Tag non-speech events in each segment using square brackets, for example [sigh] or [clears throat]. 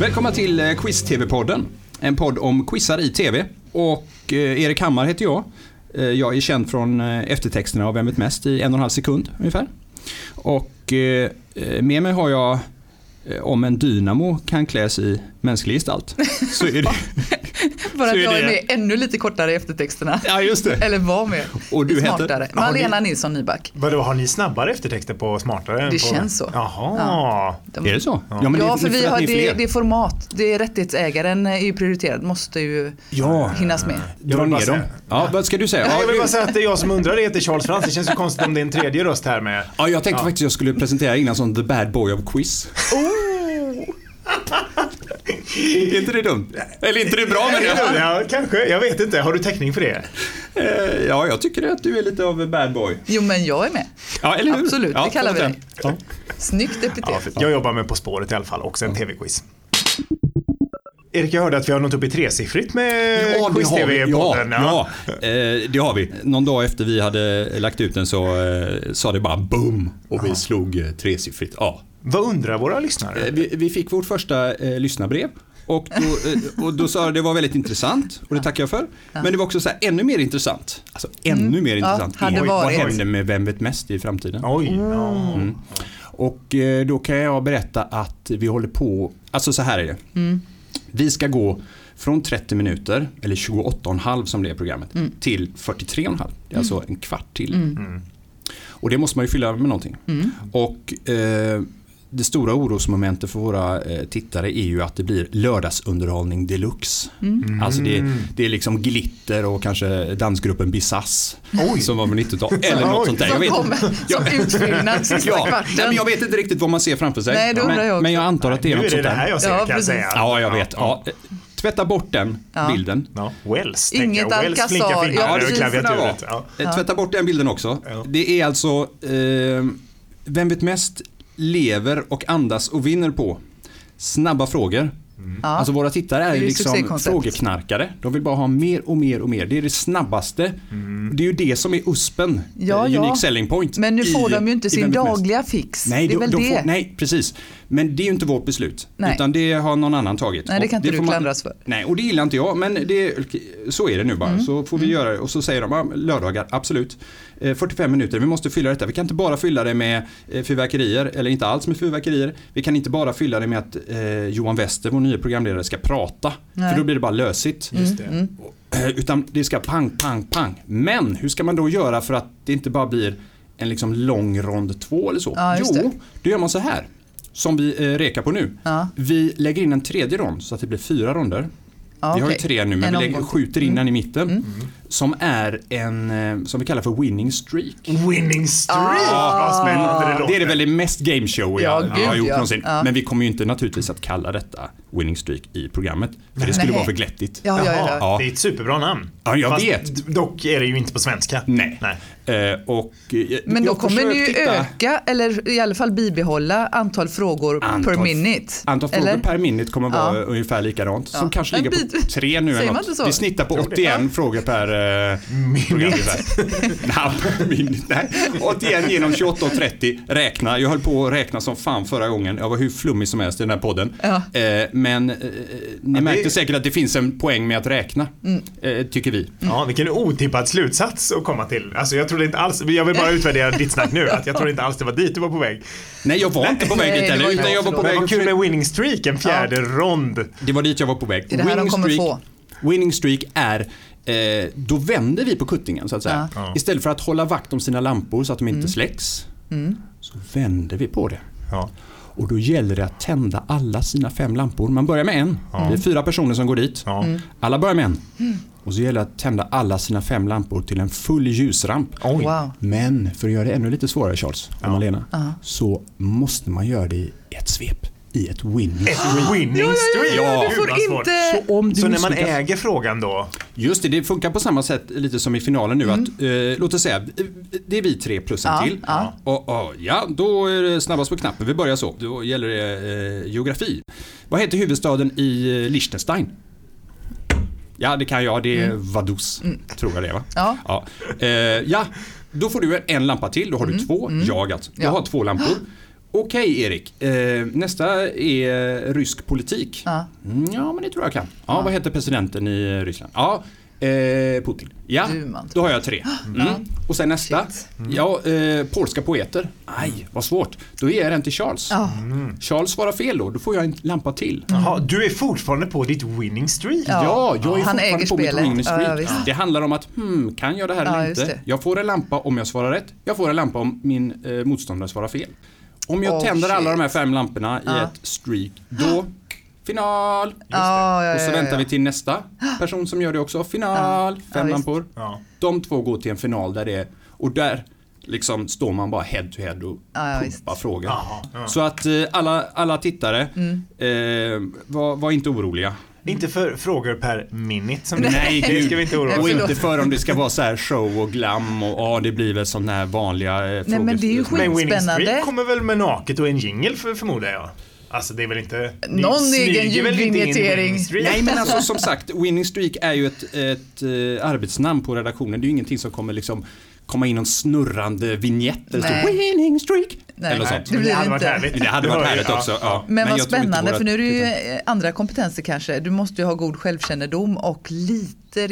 Välkomna till eh, Quiz-TV-podden. En podd om quizar i TV. Och eh, Erik Hammar heter jag. Eh, Jag är känd från eh, eftertexterna av Vem vet mest i en och en halv sekund ungefär. Och eh, eh, med mig har jag eh, om en dynamo kan kläs i mänsklig gestalt. Så är det. För Så att är jag det- är med ännu lite kortare i eftertexterna. Ja, just det. Eller var med. Och du heter? Smartare. Ja, Malena Nilsson Nyback. Vadå, har ni snabbare eftertexter på smartare? än Det på... känns så. Jaha. De- Är det så? Ja, men ja, det, för vi att har, ni är det, fler. det är format. Det är rättighetsägaren är ju prioriterad. Måste ju Ja. hinnas med. Jag Dra vill bara ner dem. säga- Ja, vad ska du säga? Nej, Ja, jag vill du- bara säga att det är jag som undrar det heter Charles Frans. Det känns ju konstigt om det är en tredje röst här med. Ja, Oh! jag tänkte faktiskt jag skulle presentera innan som the bad boy of quiz. är inte det dumt? Eller inte det bra men jag. Ja, kanske. Jag vet inte. Har du täckning för det? Eh, Ja, jag tycker att du är lite av a bad boy. Jo, men jag är med. Ja, eller hur? Absolut, ja, det kallar vi kom dig. sen. Snyggt Ja, epitet. för jag jobbar med På spåret i alla fall och sen tv-quiz. Erik, jag hörde att vi har nått upp i tresiffrigt med Ja, det har vi. Ja, quiz-tv-podden. ja. Eh, det har vi. Någon dag efter vi hade lagt ut den så eh, sa det bara boom och vi slog eh, tresiffrigt. Ja. Vad undrar våra lyssnare? Eh, Vi, vi fick vårt första eh, lyssnarbrev. Och då, eh, och då sa jag det var väldigt intressant och det tackar jag för. Men det var också så här, ännu mer intressant. Alltså ännu mer intressant. Mm. hade Oj, Vad varit. händer med Vem vet mest i framtiden? Oj. Ja. Mm. Och eh, då kan jag berätta att vi håller på, alltså så här är det. Mm. Vi ska gå från 30 minuter, eller 28,5 som det är programmet, Mm. till 43,5. Det är alltså en kvart till. Och det måste man ju fylla med någonting. Mm. Och eh, det stora orosmomentet för våra eh, tittare är ju att det blir lördagsunderhållning deluxe. Mm. Alltså det, det är liksom glitter och kanske dansgruppen Bisass som var på [laughs] 90-talet. Eller något Oj. sånt där. Jag Som vet inte. kommer som utfyllnad sista kvarten. Nej, men jag vet inte riktigt vad man ser framför sig. Nej, det undrar men, jag också. men jag antar att det Nu är något är det sånt det här där. jag ser Ja, kan jag precis. säga. Ja, jag vet. Ja. eh, Tvätta bort den Ja. bilden. Ja. Wells, Inget tänker jag. Wells Alcazar. flinka Ja, fingrar över precis. klaviaturet. Ja. Eh, Tvätta bort den bilden också. Ja. Det är alltså eh, Vem vet mest lever och andas och vinner på snabba frågor. Alltså våra tittare är Mm. Det är ju ju liksom succékoncept. frågeknarkare. De vill bara ha mer och mer och mer. Det är det snabbaste. Mm. Det är ju det som är USPen. Ja, eh, ja. Unique selling point. Men nu får i- de ju inte i sin Vem vet mest. dagliga fix. Nej, det är de, väl de det. Får, nej, precis. Men det är ju inte vårt beslut. Nej. Utan det har någon annan tagit. Nej, det Och kan inte du får man- klandras för. Mm. Nej, och det gillar inte jag. Men det, så är det nu bara. Så får vi göra det. Och så säger de, ja, lördagar, absolut. Eh, 45 minuter, vi måste fylla detta. Vi kan inte bara fylla det med eh, fyrverkerier, eller inte alls med fyrverkerier. Vi kan inte bara fylla det med att eh, Johan Wester, vår nya programledare, ska prata. Nej. Mm, För då blir det bara lösigt. Just det. Eh, Utan det ska pang, pang, pang. Men hur ska man då göra för att det inte bara blir en liksom lång rond två eller så? Ja, just jo, det. då gör man så här. Som vi eh, rekar på nu. Ja. Vi lägger in en tredje rond så att det blir fyra ronder. Ja, vi har ju okej. tre nu men En vi lägger, omgång. Mm. skjuter in den i mitten. Som är en, eh, som vi kallar för winning streak. Winning streak! Vad spännande det låter. Det är det väl det mest gameshow jag Ah. Ja, jag har gud, gjort ja. någonsin. Ja. Men vi kommer ju inte naturligtvis att kalla detta winning streak i programmet. För det skulle Nej. vara för glättigt. Ja, ja, ja. Jaha, Ja. Det är ett superbra namn. Ja, jag Fast vet. d- Dock är det ju inte på svenska. Nej. Nej. Eh, och, eh, Men då jag kommer ni ju försökte hitta öka, eller i alla fall bibehålla antal frågor Antal- per minute. Antal frågor eller? per minute kommer vara Ja. ungefär likadant. Som Ja. kanske En ligger på bit- tre nu. Säger eller man något. inte så? Vi snittar på 81 frågor per eh, program ungefär. Nej, minut, Nej, 81 genom 28 och 30. Räkna. Jag höll på att räkna som fan förra gången. Jag var hur flummig som helst i den här podden. Ja. Eh, men eh, ni märkte säkert att det finns en poäng med att räkna. Mm. Eh, tycker vi. Ja, vilken otippad slutsats att komma till. Alltså jag trodde inte alls, jag vill bara utvärdera ditt snack nu, att jag trodde inte alls det var dit du var på väg. Nej, jag var inte på väg Nej, dit det var heller. ju Utan jag var på också då. Men väg vad kul med winning streak, en fjärde rond. Det var dit jag var på väg. är det här de kommer winning streak är Eh, då vänder vi på kuttingen så att säga. Ja. Ja. Istället för att hålla vakt om sina lampor så att de Mm. inte släcks. Så vänder vi på det. Ja. Och då gäller det att tända alla sina fem lampor. Man börjar med en. Det är fyra personer som går dit. Ja. Mm. Alla börjar med en. Och så gäller det att tända alla sina fem lampor till en full ljusramp. Oj. Wow. Men för att göra det ännu lite svårare Charles och Malena. Så måste man göra det i ett svep. I ett winning Ett winning streak. ja, Du Gud, får vad svårt. inte... Om du Eh. Så när man misslyckas- äger frågan då? Just det, det funkar på samma sätt lite som i finalen nu. Att, eh, låt oss säga, eh, det är vi tre plus en Mm. Ja, till. ja. Och, och, ja, då är det snabbast på knappen. Vi börjar så. Då gäller det eh, geografi. Vad heter huvudstaden i eh, Liechtenstein? Ja, det kan jag. Det är Vaduz, tror jag det är, va? Mm. Ja. Ja. Eh, ja, då får du en lampa till. Då har du två. Jag alltså. Jag Mm. Ja. [gasps] har två lampor. Okej Erik, eh, nästa är rysk politik. Ja. Mm, Ja, men det tror jag kan. Ja, Vad heter presidenten i Ryssland? Ja, eh, Putin. Ja, Duman. då har jag [gasps] tre. Mm. Och sen nästa. Shit. Mm. Ja, eh, polska poeter. Aj, vad svårt. Då ger jag den till Charles. Ja. Charles svarar fel då, då får jag en lampa till. Jaha, du är fortfarande på ditt winning streak. Ja. Ja, jag är Han fortfarande äger på mitt spelet. winning streak. Ja, ja, visst. det handlar om att, hmm, kan jag det här Ja, eller just inte? det. Jag får en lampa om jag svarar rätt. Jag får en lampa om min eh, motståndare svarar fel. Om jag Oh, tänder alla shit. de här fem lamporna i Ja. ett streak, då final! Ja, ja, Och så ja, ja, väntar ja. vi till nästa person som gör det också. Final! Ja, Fem visst. lampor. Ja. De två går till en final där det är, och där liksom står man bara head to head och Ja, ja, pumpar visst. frågor. Jaha, ja. Så att eh, alla, alla tittare, Mm. eh, var, var inte [laughs] oroliga. Inte för frågor per minute som det- Nej, det [laughs] gud. ska vi inte oroa Och oss Nej, förlåt. inte för om det ska vara så här show och glam och ja, det blir väl sådana här vanliga eh, Nej, men det är ju frågestund. skit- Men Winning Spännande. Streak kommer väl med naket och en jingle för, förmodar jag. Alltså det är väl inte... det Någon smyger egen väl inte in i ljudvinjetering. Winning Streak? Nej men alltså [laughs] som sagt, Winning Streak är ju ett, ett eh, arbetsnamn på redaktionen. Det är ju ingenting som kommer liksom komma in någon snurrande vignett eller så Nej. Winning Streak. Nej, eller nej. sånt. Det blir det hade inte. varit härligt. Det hade varit hör jag, härligt ja. också. Ja. Men, vad jag tror inte spännande, våra för nu är det ju tittare- eh, andra kompetenser kanske. Du måste ju ha god självkännedom och lite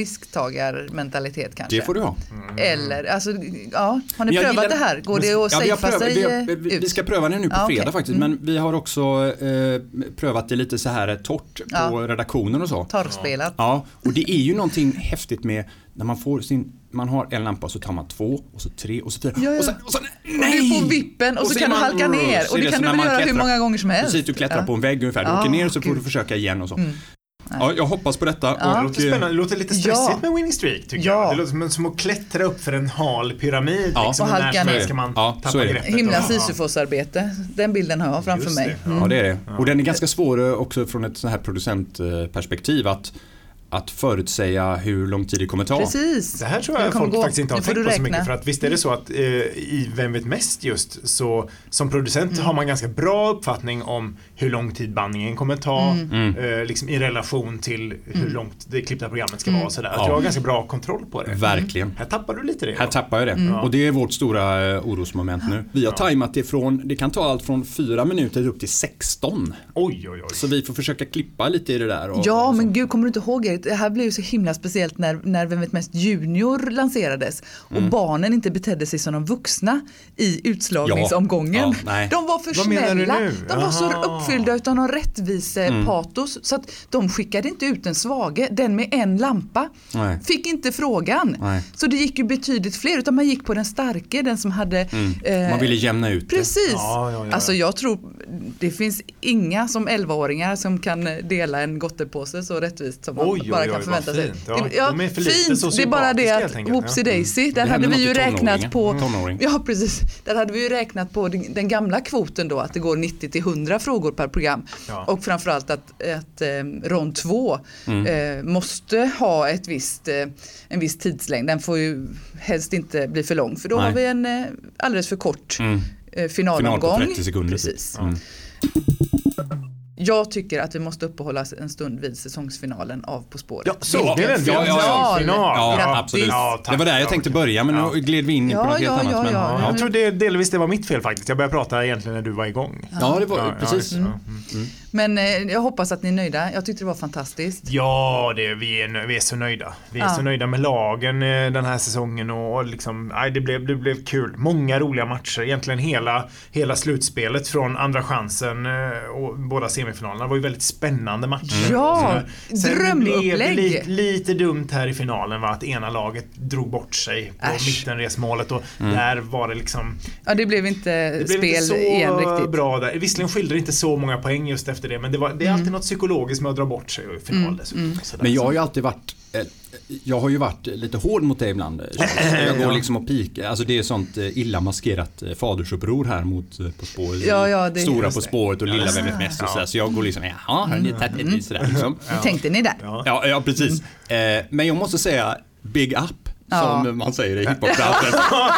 risktagarmentalitet kanske. Det får du ha. Eller, alltså, ja, har ni Men jag prövat gillar- det här? Går det att Ja, vi har safea prövat- vi sig har- eh, vi, vi, ut? vi ska pröva det nu på Ja, okej. Mm. fredag faktiskt. Men vi har också eh, prövat det lite så här eh, torrt på Ja. redaktionen och så. Torrspelat. Ja, och det är ju någonting häftigt med när man får sin, man har en lampa och så tar man två och så tre och så fyra Ja, ja. och sen, och sen nej! Du får vippen och, så, är kan du man- Mm, halka ner. så Och är det, kan som du när väl man göra hur klättrar- många gånger som helst. Precis, du klättrar Ja. på en vägg ungefär. Du Ja, åker ner och så får gud. Mm. du försöka igen och så. Ja, jag hoppas på detta. Det Och, låter spännande, det låter lite stressigt Ja. med Winning Streak tycker Ja. jag. Det låter som, som att klättra upp för en hal pyramid. Ja. liksom, Och halka när som helst ner. Ska man Ja, tappa så är det. greppet Himla och- Sisyfosarbete. Den bilden har jag Ja, framför just mig. Mm. det. Ja, det är det. Mm. Och den är ganska svår eh, också från ett sånt här producentperspektiv att, att förutsäga hur lång tid det kommer ta. Precis. Det här tror Det jag kommer folk gå. faktiskt inte har Nu får tänkt du på så räkna. mycket för att visst är det så att eh, i Vem vet mest just så som producent Mm. har man ganska bra uppfattning om hur lång tid bandningen kommer ta Mm. Mm. eh, liksom i relation till hur långt det klippta programmet Mm. ska vara och sådär. Att Ja. du har ganska bra kontroll på det. Verkligen. Här tappar du lite det. Här tappar jag det. Mm. Och det är vårt stora eh, orosmoment nu. Vi har tajmat det från, det kan ta allt från 4 minuter upp till 16. oj, oj, oj. Så vi får försöka klippa lite i det där. Och, Ja, och så. men gud, kommer du inte ihåg Erik? Det här blev ju så himla speciellt när, när Vem vet mest junior lanserades och Mm. barnen inte betedde sig som de vuxna i utslagningsomgången. Ja, nej. de var för Vad menar du snälla. nu? De var så Aha. uppfyllda utan någon rättvise patos Mm. så att de skickade inte ut den svage, den med en lampa. Nej. Fick inte frågan. Nej. Så det gick ju betydligt fler utan man gick på den starke, den som hade eh, Mm. Man ville jämna ut det. Precis. Ja, ja, ja. Alltså jag tror det finns inga som 11-åringar som kan dela en gottepåse så rättvist som man Oj, oj, bara oj, kan vad förvänta sig. fint. Ja, det, ja, de är för lite fint. Det är bara det sociopatiska helt att enkelt, whoopsie ja. daisy, där Mm. Det hade händer vi ju något i räknat på tonåringen. Mm. Tonåring. Ja precis, där hade vi ju räknat på den den gamla kvoten då att det går 90 till 100 frågor per program Ja. och framförallt att, att eh, rond 2 eh, måste ha ett visst, eh, en viss tidslängd. Den får ju helst inte bli för lång för då Nej. har vi en eh, alldeles för kort Mm. eh, finalomgång. Final på 30 sekunder. Precis. Mm. Jag tycker att vi måste uppehålla oss en stund vid säsongsfinalen av På spåret. Ja, såg Ja, ni den? Vi har ja, ja, ja. final. Ja, Grattis. absolut. Ja, tack. det var där jag tänkte börja men Ja. nu gled vi in på Ja, något helt ja, annat. ja, men, ja. Ja, jag tror det, delvis det var mitt fel faktiskt. Jag började prata egentligen när du var igång. Ja, det var Ja, ja, precis. just det. Ja, mm. Men eh, jag hoppas att ni är nöjda. Jag tyckte det var fantastiskt. Ja, det, vi, är, nö- vi är så nöjda. Vi är Ja. så nöjda med lagen eh, den här säsongen och och liksom, aj, det, blev, det blev kul. Många roliga matcher, egentligen hela, hela slutspelet från andra chansen eh, och båda semifinalerna var ju väldigt spännande matcher. Ja, Och sådär. Sen drömupplägg. blev det li- lite dumt här i finalen var att ena laget drog bort sig på Äsch. mittenresmålet och Mm. där var det liksom Ja, det blev inte det spel blev inte så igen riktigt. bra där. Visserligen skilde det inte så många poäng just efter det men det, var, det är Mm. alltid något psykologiskt med att dra bort sig i final dessutom. Sådär. men jag har ju alltid varit eh, jag har ju varit lite hård mot dig ibland. eh, Charles. Jag går liksom och pikar. Alltså det är sånt eh, illa maskerat eh, fadersuppror här mot eh, På spåret. Ja, ja, det- Stora just På det. spåret och Lilla Vem vet mest och sådär. Så jag går liksom, jaha, har ni tagit Mm. [laughs] lite sådär liksom. Hur tänkte ni där? Ja. Ja, ja precis. Eh, men jag måste säga, big up Ja. som man säger i [laughs] hiphopbranschen.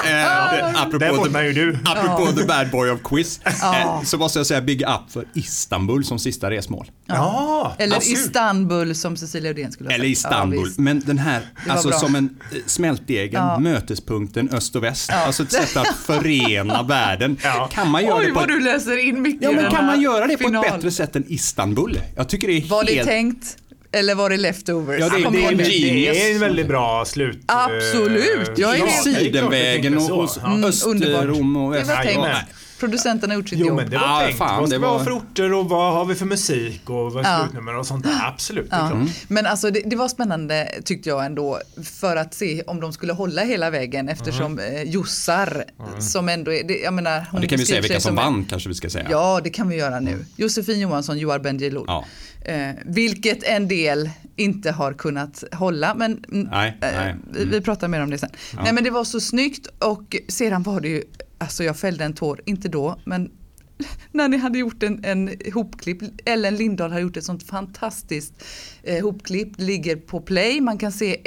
eh, Där apropå, bottnar the, ju du. apropå the bad boy of quiz. Ja. Eh, så måste jag säga big up för Istanbul som sista resmål. Ja, Eller vad kul. Istanbul som Cecilia Uddén skulle ha Eller sagt. Istanbul. Ja, men den här, var alltså bra. som en eh, smältdegen, mötespunkten öst och väst. Alltså ett sätt [laughs] att förena världen. Ja. Kan man göra visst. Oj det på vad ett, du läser in mycket ja, i men den kan här man göra det på ett final. bättre sätt än Istanbul? Jag tycker det är Var det helt... tänkt eller var det leftovers? Ja, det- Kom det är ihåg Mm, en det. genius. Det är en väldigt bra slut. Absolut, eh, jag är Ja, med. det klart Sidenvägen jag och, tänkte och så. Mm, underbart. Östrom och Det var väst. Jajamän. tänkt. Nej. Producenterna har gjort sitt Jo jobb. men det Ah, var tänkt. fan, vad det ska vi var- ha för orter och vad har vi för musik och vad är Ja. slutnummer och sånt där. Absolut, det är Ja. Mm. klart. Men alltså det, det var spännande tyckte jag ändå för att se om de skulle hålla hela vägen eftersom eh, Jossar som ändå är, det, jag menar hon Mm. Ja, det kan vi beskriver säga vilka sig som en- vann kanske vi ska säga. Ja det kan vi göra nu. Josefin Johansson, Joar Bendjelloul. Ja. Eh, vilket en del inte har kunnat hålla men mm, Nej, eh, nej. vi, vi pratar mer om det sen. Nej men det var så snyggt och sedan var det ju, alltså jag fällde en tår, inte då men [laughs] när ni hade gjort en, en hopklipp, Ellen Lindahl har gjort ett sånt fantastiskt eh, hopklipp, Det ligger på play, man kan se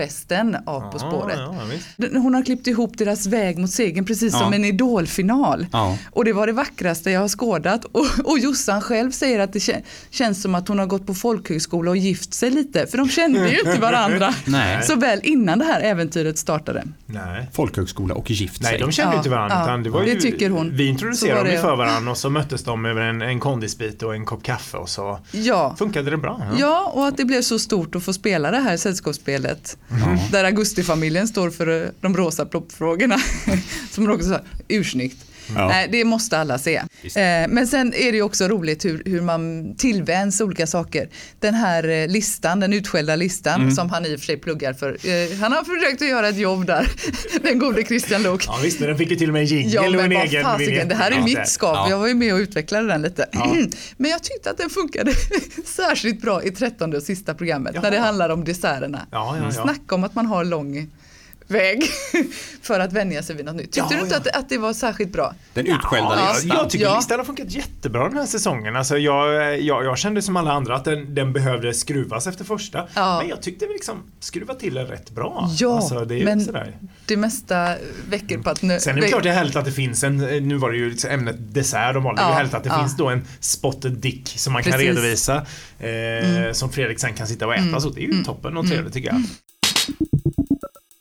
efterfesten av På spåret. Ja, ja, visst. Den- Hon har klippt ihop deras väg mot segern precis Ja. som en idolfinal. Ja. Och det var det vackraste jag har skådat. Och, och Jossan själv säger att det kä- känns som att hon har gått på folkhögskola och gift sig lite. För de kände ju inte varandra [laughs] Nej. så väl innan det här äventyret startade. Nej. Folkhögskola och gift Nej, sig. de kände Ja, ju inte varandra. ja. utan det var ju, Det tycker hon. Vi Så var introducerade dem det. ju för varandra och så möttes de över en, en kondisbit och en kopp kaffe och så Ja. funkade det bra. Ja. Ja, och att det blev så stort att få spela det här sällskapsspelet. Där Augustifamiljen står för eh, de [laughs] rosa ploppfrågorna. Som Roger sa, ursnyggt. Ja. Nej, det måste alla se. Visst. Eh, men sen är det ju också roligt hur, hur man tillvänds olika saker. Den här eh, listan, den utskällda listan Mm. som han i och för sig pluggar för. Eh, han har försökt att göra ett jobb där, [laughs] den gode Christian Lok. Ja visst, den fick ju till och med en jingle Ja och men en vad egen fasiken, vignett. det här är Ja. mitt skap. Ja. Jag var ju med och utvecklade den lite. [clears throat] Men jag tyckte att den funkade [laughs] särskilt bra i trettonde och sista programmet när det Jaha. handlar om desserterna. Ja, ja, ja. Snacka om att man har lång väg [laughs] för att vänja sig vid något nytt. Tyckte Ja, du inte ja. att, att det var särskilt bra? Den utskällda ja, listan. jag, jag tycker Ja. listan har funkat jättebra den här säsongen. Alltså jag, jag, jag kände som alla andra att den, den behövde skruvas efter första. Ja. Men jag tyckte vi liksom skruva till den rätt bra. Ja, alltså, det är ju men sådär. det mesta väcker på att nu... Sen är det klart det är härligt att det finns en, nu var det ju liksom ämnet dessert de valde, Ja, det är härligt att det ja. finns då en spotted dick som man kan Precis. Mm. redovisa. Eh, Som Fredrik sen kan sitta och äta, så det är ju toppen och trevligt tycker jag.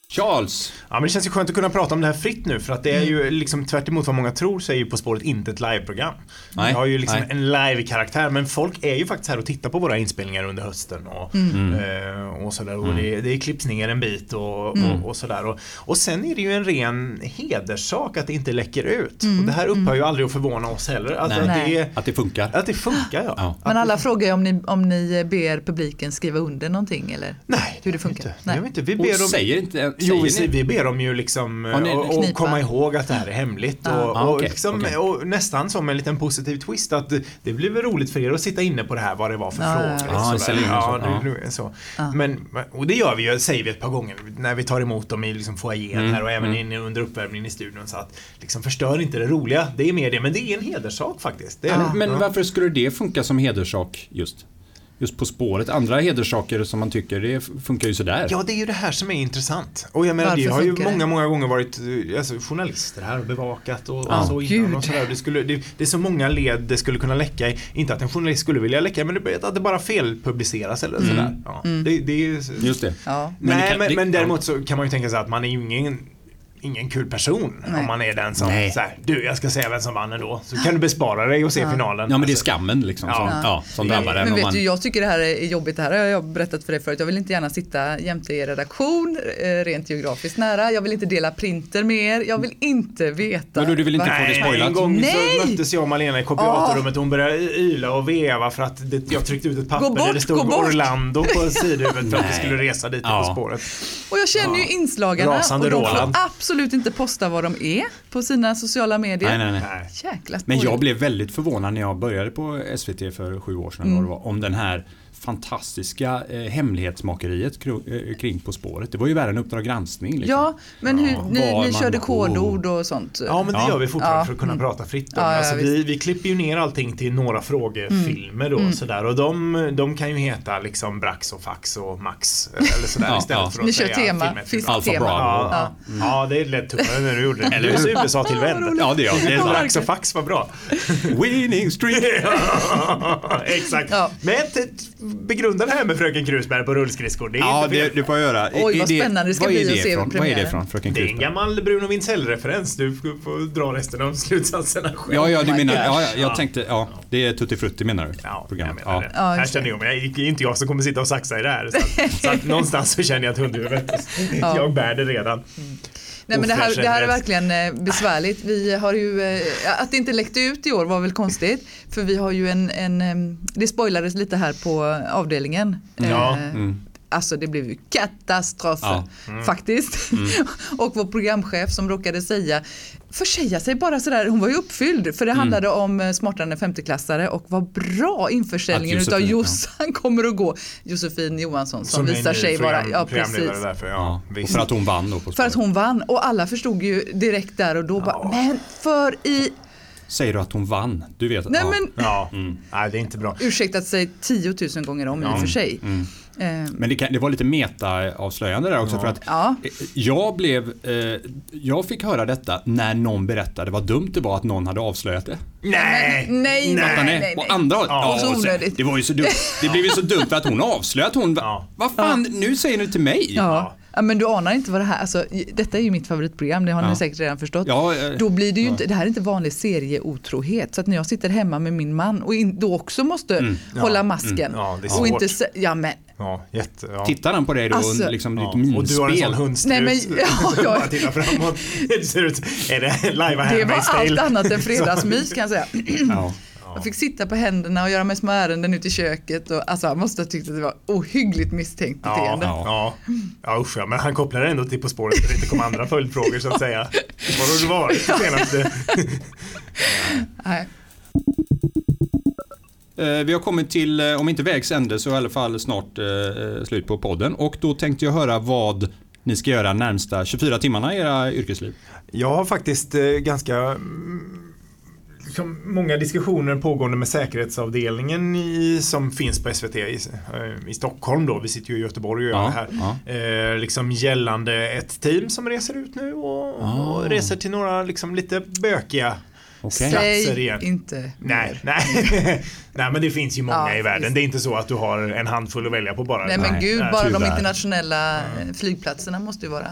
Charles. Ja men det känns ju skönt att kunna prata om det här fritt nu för att det är ju liksom tvärt emot vad många tror så är ju På spåret inte ett liveprogram. Nej, Vi har ju liksom nej. en live-karaktär men folk är ju faktiskt här och tittar på våra inspelningar under hösten och, eh, och sådär. Och det, det är klippsningar en bit och, och, och sådär. Och, och sen är det ju en ren hederssak att det inte läcker ut. Och det här upphör ju aldrig att förvåna oss heller. Alltså, Nej. att, det, Att det funkar. att det funkar ja. Ja. Men alla frågar ju om ni, om ni ber publiken skriva under någonting eller Nej, hur det funkar. Inte. Nej. Nej. Inte. Vi Och ber om, säger inte... Säger Jo, vi, ni? säger- vi ber dem ju liksom eh, Ja, ni- och, och knipa. komma ihåg att det här är hemligt. Och, Ah, och, okej, liksom, okej. och nästan som en liten positiv twist att det- det blir väl roligt för er att sitta inne på det här vad det var för Ja, ja, frågor. ja. och Ja, sådär. säljer in och ja, så, nu- nu- så. Men, och det gör vi ju, säger vi ett par gånger när vi tar emot dem i liksom foajén Mm, här och även inne under uppvärmningen i studion. Så att liksom förstör inte det roliga. Det är mer det, men det är en hederssak faktiskt. Det är, det. Men varför skulle det funka som hederssak just? Just På spåret. Andra hederssaker som man tycker, det funkar ju sådär. Ja, det är ju det här som är intressant. Och jag menar, Varför det har ju funkar det? många, många gånger varit eh, alltså, journalister här och bevakat och, och så Gud. innan och sådär. Det, skulle, det, det är så många led det skulle kunna läcka i. Inte att en journalist skulle vilja läcka, men det, att det bara felpubliceras Mm. eller sådär. Ja. Det, det är ju... Just det. Ja. Men det Nej, kan- men, det- men däremot så kan man ju tänka sig att man är ju ingen Ingen kul person om man är den som Nej. såhär, du jag ska säga vem som vann ändå. Så kan du bespara dig och se finalen. Ja men det är Alltså, skammen liksom som, Ja. ja, som drabbar en. Men om vet man- du, jag tycker det här är jobbigt. Det här har jag berättat för dig förut. Jag vill inte gärna sitta jämte er redaktion, eh, rent geografiskt nära. Jag vill inte dela printer med er. Jag vill inte veta. Men du, du vill inte vad- få det Nej, spoilat. en gång Nej! så möttes jag och Malena i kopiatorrummet och hon började yla och veva för att det, jag tryckte ut ett papper där bort, det gå stod bort. Orlando [laughs] på sidhuvudet för att vi Nej. skulle resa dit Ja. På spåret. Och jag känner ju inslagarna. Rasande och de får Roland. absolut inte posta vad de är på sina sociala medier. Nej, nej, nej. Nej. Jäkla Men jag spårigt. blev väldigt förvånad när jag började på SVT för sju år sedan Mm. vad det var, om den här fantastiska eh, hemlighetsmakeriet kro- eh, kring På spåret. Det var ju värre än Uppdrag granskning. Liksom. Ja, men Ja, hur, ni, var ni man- körde kodord och sånt. Ja, men det Ja. gör vi fortfarande Ja. Mm. för att kunna prata fritt. Om. Ja, ja, alltså, visst. Mm. vi, vi klipper ju ner allting till några frågefilmer då, sådär. och de, de kan ju heta liksom Brax och Fax och Max eller sådär [laughs] Ja, istället ja. för att Ni kör säga tema, filmen, filmen. Alpha fisktema. Bravo. Ja, ja. ja, det är lätt tuffare när du gjorde det. Eller Du är så hur? USA-tillvänd. Ja, det är [laughs] jag. Det är Ja, sant. Brax och Fax var bra. Winning streak! [laughs] [laughs] Exakt. Ja. Men t- begrunda det här med Fröken Krusbär på rullskridskor. Det är Ja, inte det, fel. det får jag göra. I- Oj, i vad spännande det ska vad är bli att det se ifrån? Vad är det premiären. från? Fröken Det är en Krusbär? gammal Bruno Wintzell-referens. Du får får dra resten av slutsatserna själv. Ja, ja, du Oh my menar, ja, gosh. ja, jag tänkte, ja, det är Tutti Frutti menar du? Ja, Programmet. jag menar det. Ja, här just känner jag mig, det är inte jag som kommer sitta och saxa i det här. Så, att, [laughs] så att någonstans så känner jag att hundhuvudet, Ja. Mm, jag bär det redan. Nej, men det, här, det här är Ofräsch verkligen eh, besvärligt. Vi har ju, eh, att det inte läckte ut i år var väl konstigt. För vi har ju en, en eh, det spoilades lite här på avdelningen. Ja, Eh, Alltså det blev ju katastrof Mm. Ja. Mm. Mm. faktiskt. [laughs] Och vår programchef som råkade säga, försäga sig bara sådär, hon var ju uppfylld Mm. för det handlade om eh, smartare än 50-klassare och vad bra införsäljningen Att utav Josefin, ja. Jossan [laughs] kommer att gå. Josefin Johansson som, Som är visar ny sig vara, program- ja programledare precis. Där för, ja, Ja, och visst. för att hon vann då På För att spåret. hon vann och alla förstod ju direkt där och då bara, men för i, Säger du att hon vann? Du vet? nej ja. men Ja, Mm. nej det är inte bra. ursäktat sig 10 000 gånger om i och för sig. Eh, Men det, kan, det var lite meta-avslöjande där också för att Ja. eh, jag blev, eh, jag fick höra detta när någon berättade vad dumt det var att någon hade avslöjat det. Nej! nej, nej, Fattar nej, ni? nej. Och andra Och så och så- onödigt. Det var ju så dumt. Det blev ju så dumt för att hon avslöjade att hon, Ja. vad fan, nu säger du till mig? Ja. ja, men du anar inte vad det här, alltså detta är ju mitt favoritprogram, det har ni Ja. säkert redan förstått. Ja, eh, Då blir det ju inte, det här är inte vanlig serieotrohet, så att när jag sitter hemma med min man och in, då också måste hålla masken. Ja, det är och svårt. inte, sä- ja men, Ja, jätte, ja. Tittar han på dig då Alltså- och liksom Ja. ditt minspel? Och du har en sån hundstrut. Nej, [laughs] men- ja, ja. Bara titta framåt. Det ser ut, är det live det var Handmaid's Tale? allt annat än fredagsmys kan jag säga. Ja. Jag fick sitta på händerna och göra mig små ärenden ute i köket och alltså han måste ha tyckt att det var ohyggligt misstänkt Ja, beteende. ja. ja usch ja, men han kopplar ändå till På spåret för att det inte kom andra följdfrågor så att säga. Var har du varit det senaste? Nej. Eh, Vi har kommit till, eh, om inte vägs ände, så i alla fall snart eh, eh, slut på podden. Och då tänkte jag höra vad ni ska göra närmsta 24 timmarna i era yrkesliv. Jag har faktiskt eh, ganska mm, liksom många diskussioner pågående med säkerhetsavdelningen i, som finns på SVT i, eh, i Stockholm då. Vi sitter ju i Göteborg och gör Ja, det här. Eh, liksom gällande ett team som reser ut nu och, och reser till några liksom lite bökiga Ah. Okej. platser Säg igen. inte. Nej, nej. [laughs] nej, men det finns ju många Ja, i världen. visst. Det är inte så att du har en handfull att välja på bara. Nej men Nej, gud, nej, bara de tyvärr. internationella eh, flygplatserna måste ju vara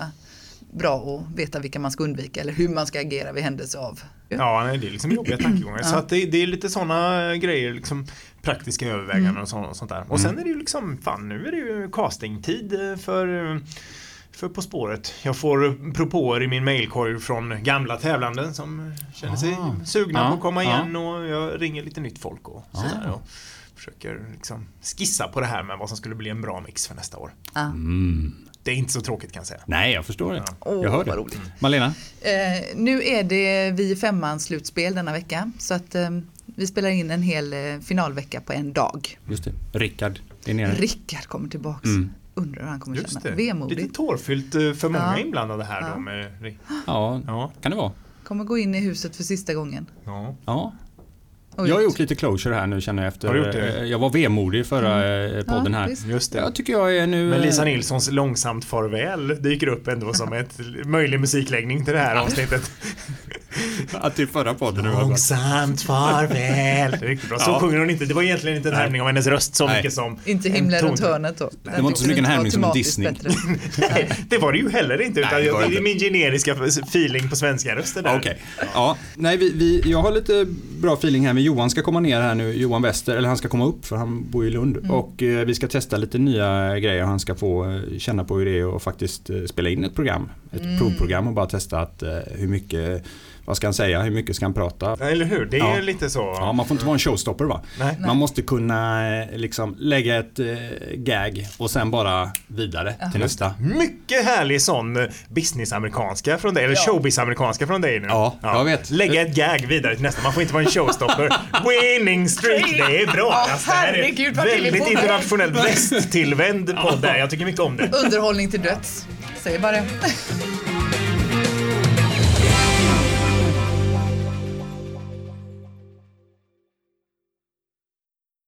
bra att veta vilka man ska undvika eller hur man ska agera vid händelse av. Ja, nej, det är liksom jobbiga tankegångar. Så att det, det är lite sådana grejer, liksom praktiska överväganden och, sånt, och sånt där. Och sen är det ju liksom, fan nu är det ju castingtid eh, för eh, för På spåret. Jag får propåer i min mailkorg från gamla tävlanden som känner sig sugna Ja, på att komma ja. igen och jag ringer lite nytt folk och sådär. Och försöker liksom skissa på det här med vad som skulle bli en bra mix för nästa år. Ah. Mm. Det är inte så tråkigt kan jag säga. Nej, jag förstår det. Åh, jag hör vad det. Mm. roligt. Malena? Eh, nu är det Vi i femman slutspel denna vecka så att eh, vi spelar in en hel eh, finalvecka på en dag. Just det. Rickard är nere. Rickard kommer tillbaks. Undrar hur han kommer Just känna. det. Lite Vemodigt. tårfyllt eh, för många Ja. inblandade här då. Med, Ja, ja. kan det vara. Kommer gå in i huset för sista gången. ja. Ja. Och Jag har ut. gjort lite closure här nu känner jag efter. Har du gjort det? eh, Jag var vemodig i förra eh, podden Ja, här. visst. Just det. Jag tycker jag är nu... Men Lisa eh, Nilssons långsamt farväl dyker upp ändå som ett [laughs] möjlig musikläggning till det här avsnittet. Att det är förra podden nu var [laughs] Långsamt farväl. Det är [laughs] Riktigt bra. Så Ja. sjunger hon inte. Det var egentligen inte en härmning av hennes röst så Nej. mycket som Inte en himlen ton. runt hörnet då. Den var inte tyckte så mycket vi en härmning var som en tematiskt Disney. bättre. [laughs] Nej, det var det ju heller inte. Utan Nej, det var jag, det det är inte. min generiska feeling på svenska röster där. Okej. Ja. Nej, vi, vi, jag har lite bra feeling här med Johan ska komma ner här nu, Johan Wester, eller han ska komma upp för han bor i Lund. Mm. Och eh, vi ska testa lite nya grejer han ska få eh, känna på hur det är och faktiskt eh, spela in ett program. Ett Mm. provprogram och bara testa att, eh, hur mycket, vad ska han säga, hur mycket ska han prata? Eller hur? Det är Ja. lite så. Ja, man får inte vara en showstopper va? Nej. Man måste kunna eh, liksom lägga ett eh, gag och sen bara vidare till nästa. Mycket härlig sån business-amerikanska från dig, eller showbiz-amerikanska från dig nu. Ja, jag vet. Lägga ett gag vidare till nästa, man får inte vara en [laughs] showstopper. Winning streak, det är bra. Ja, Alltså, det här herregud, är vart är vi väldigt på väg? [laughs] internationellt västtillvänd podd där. Jag tycker mycket om det. Underhållning till döds. Säger bara det.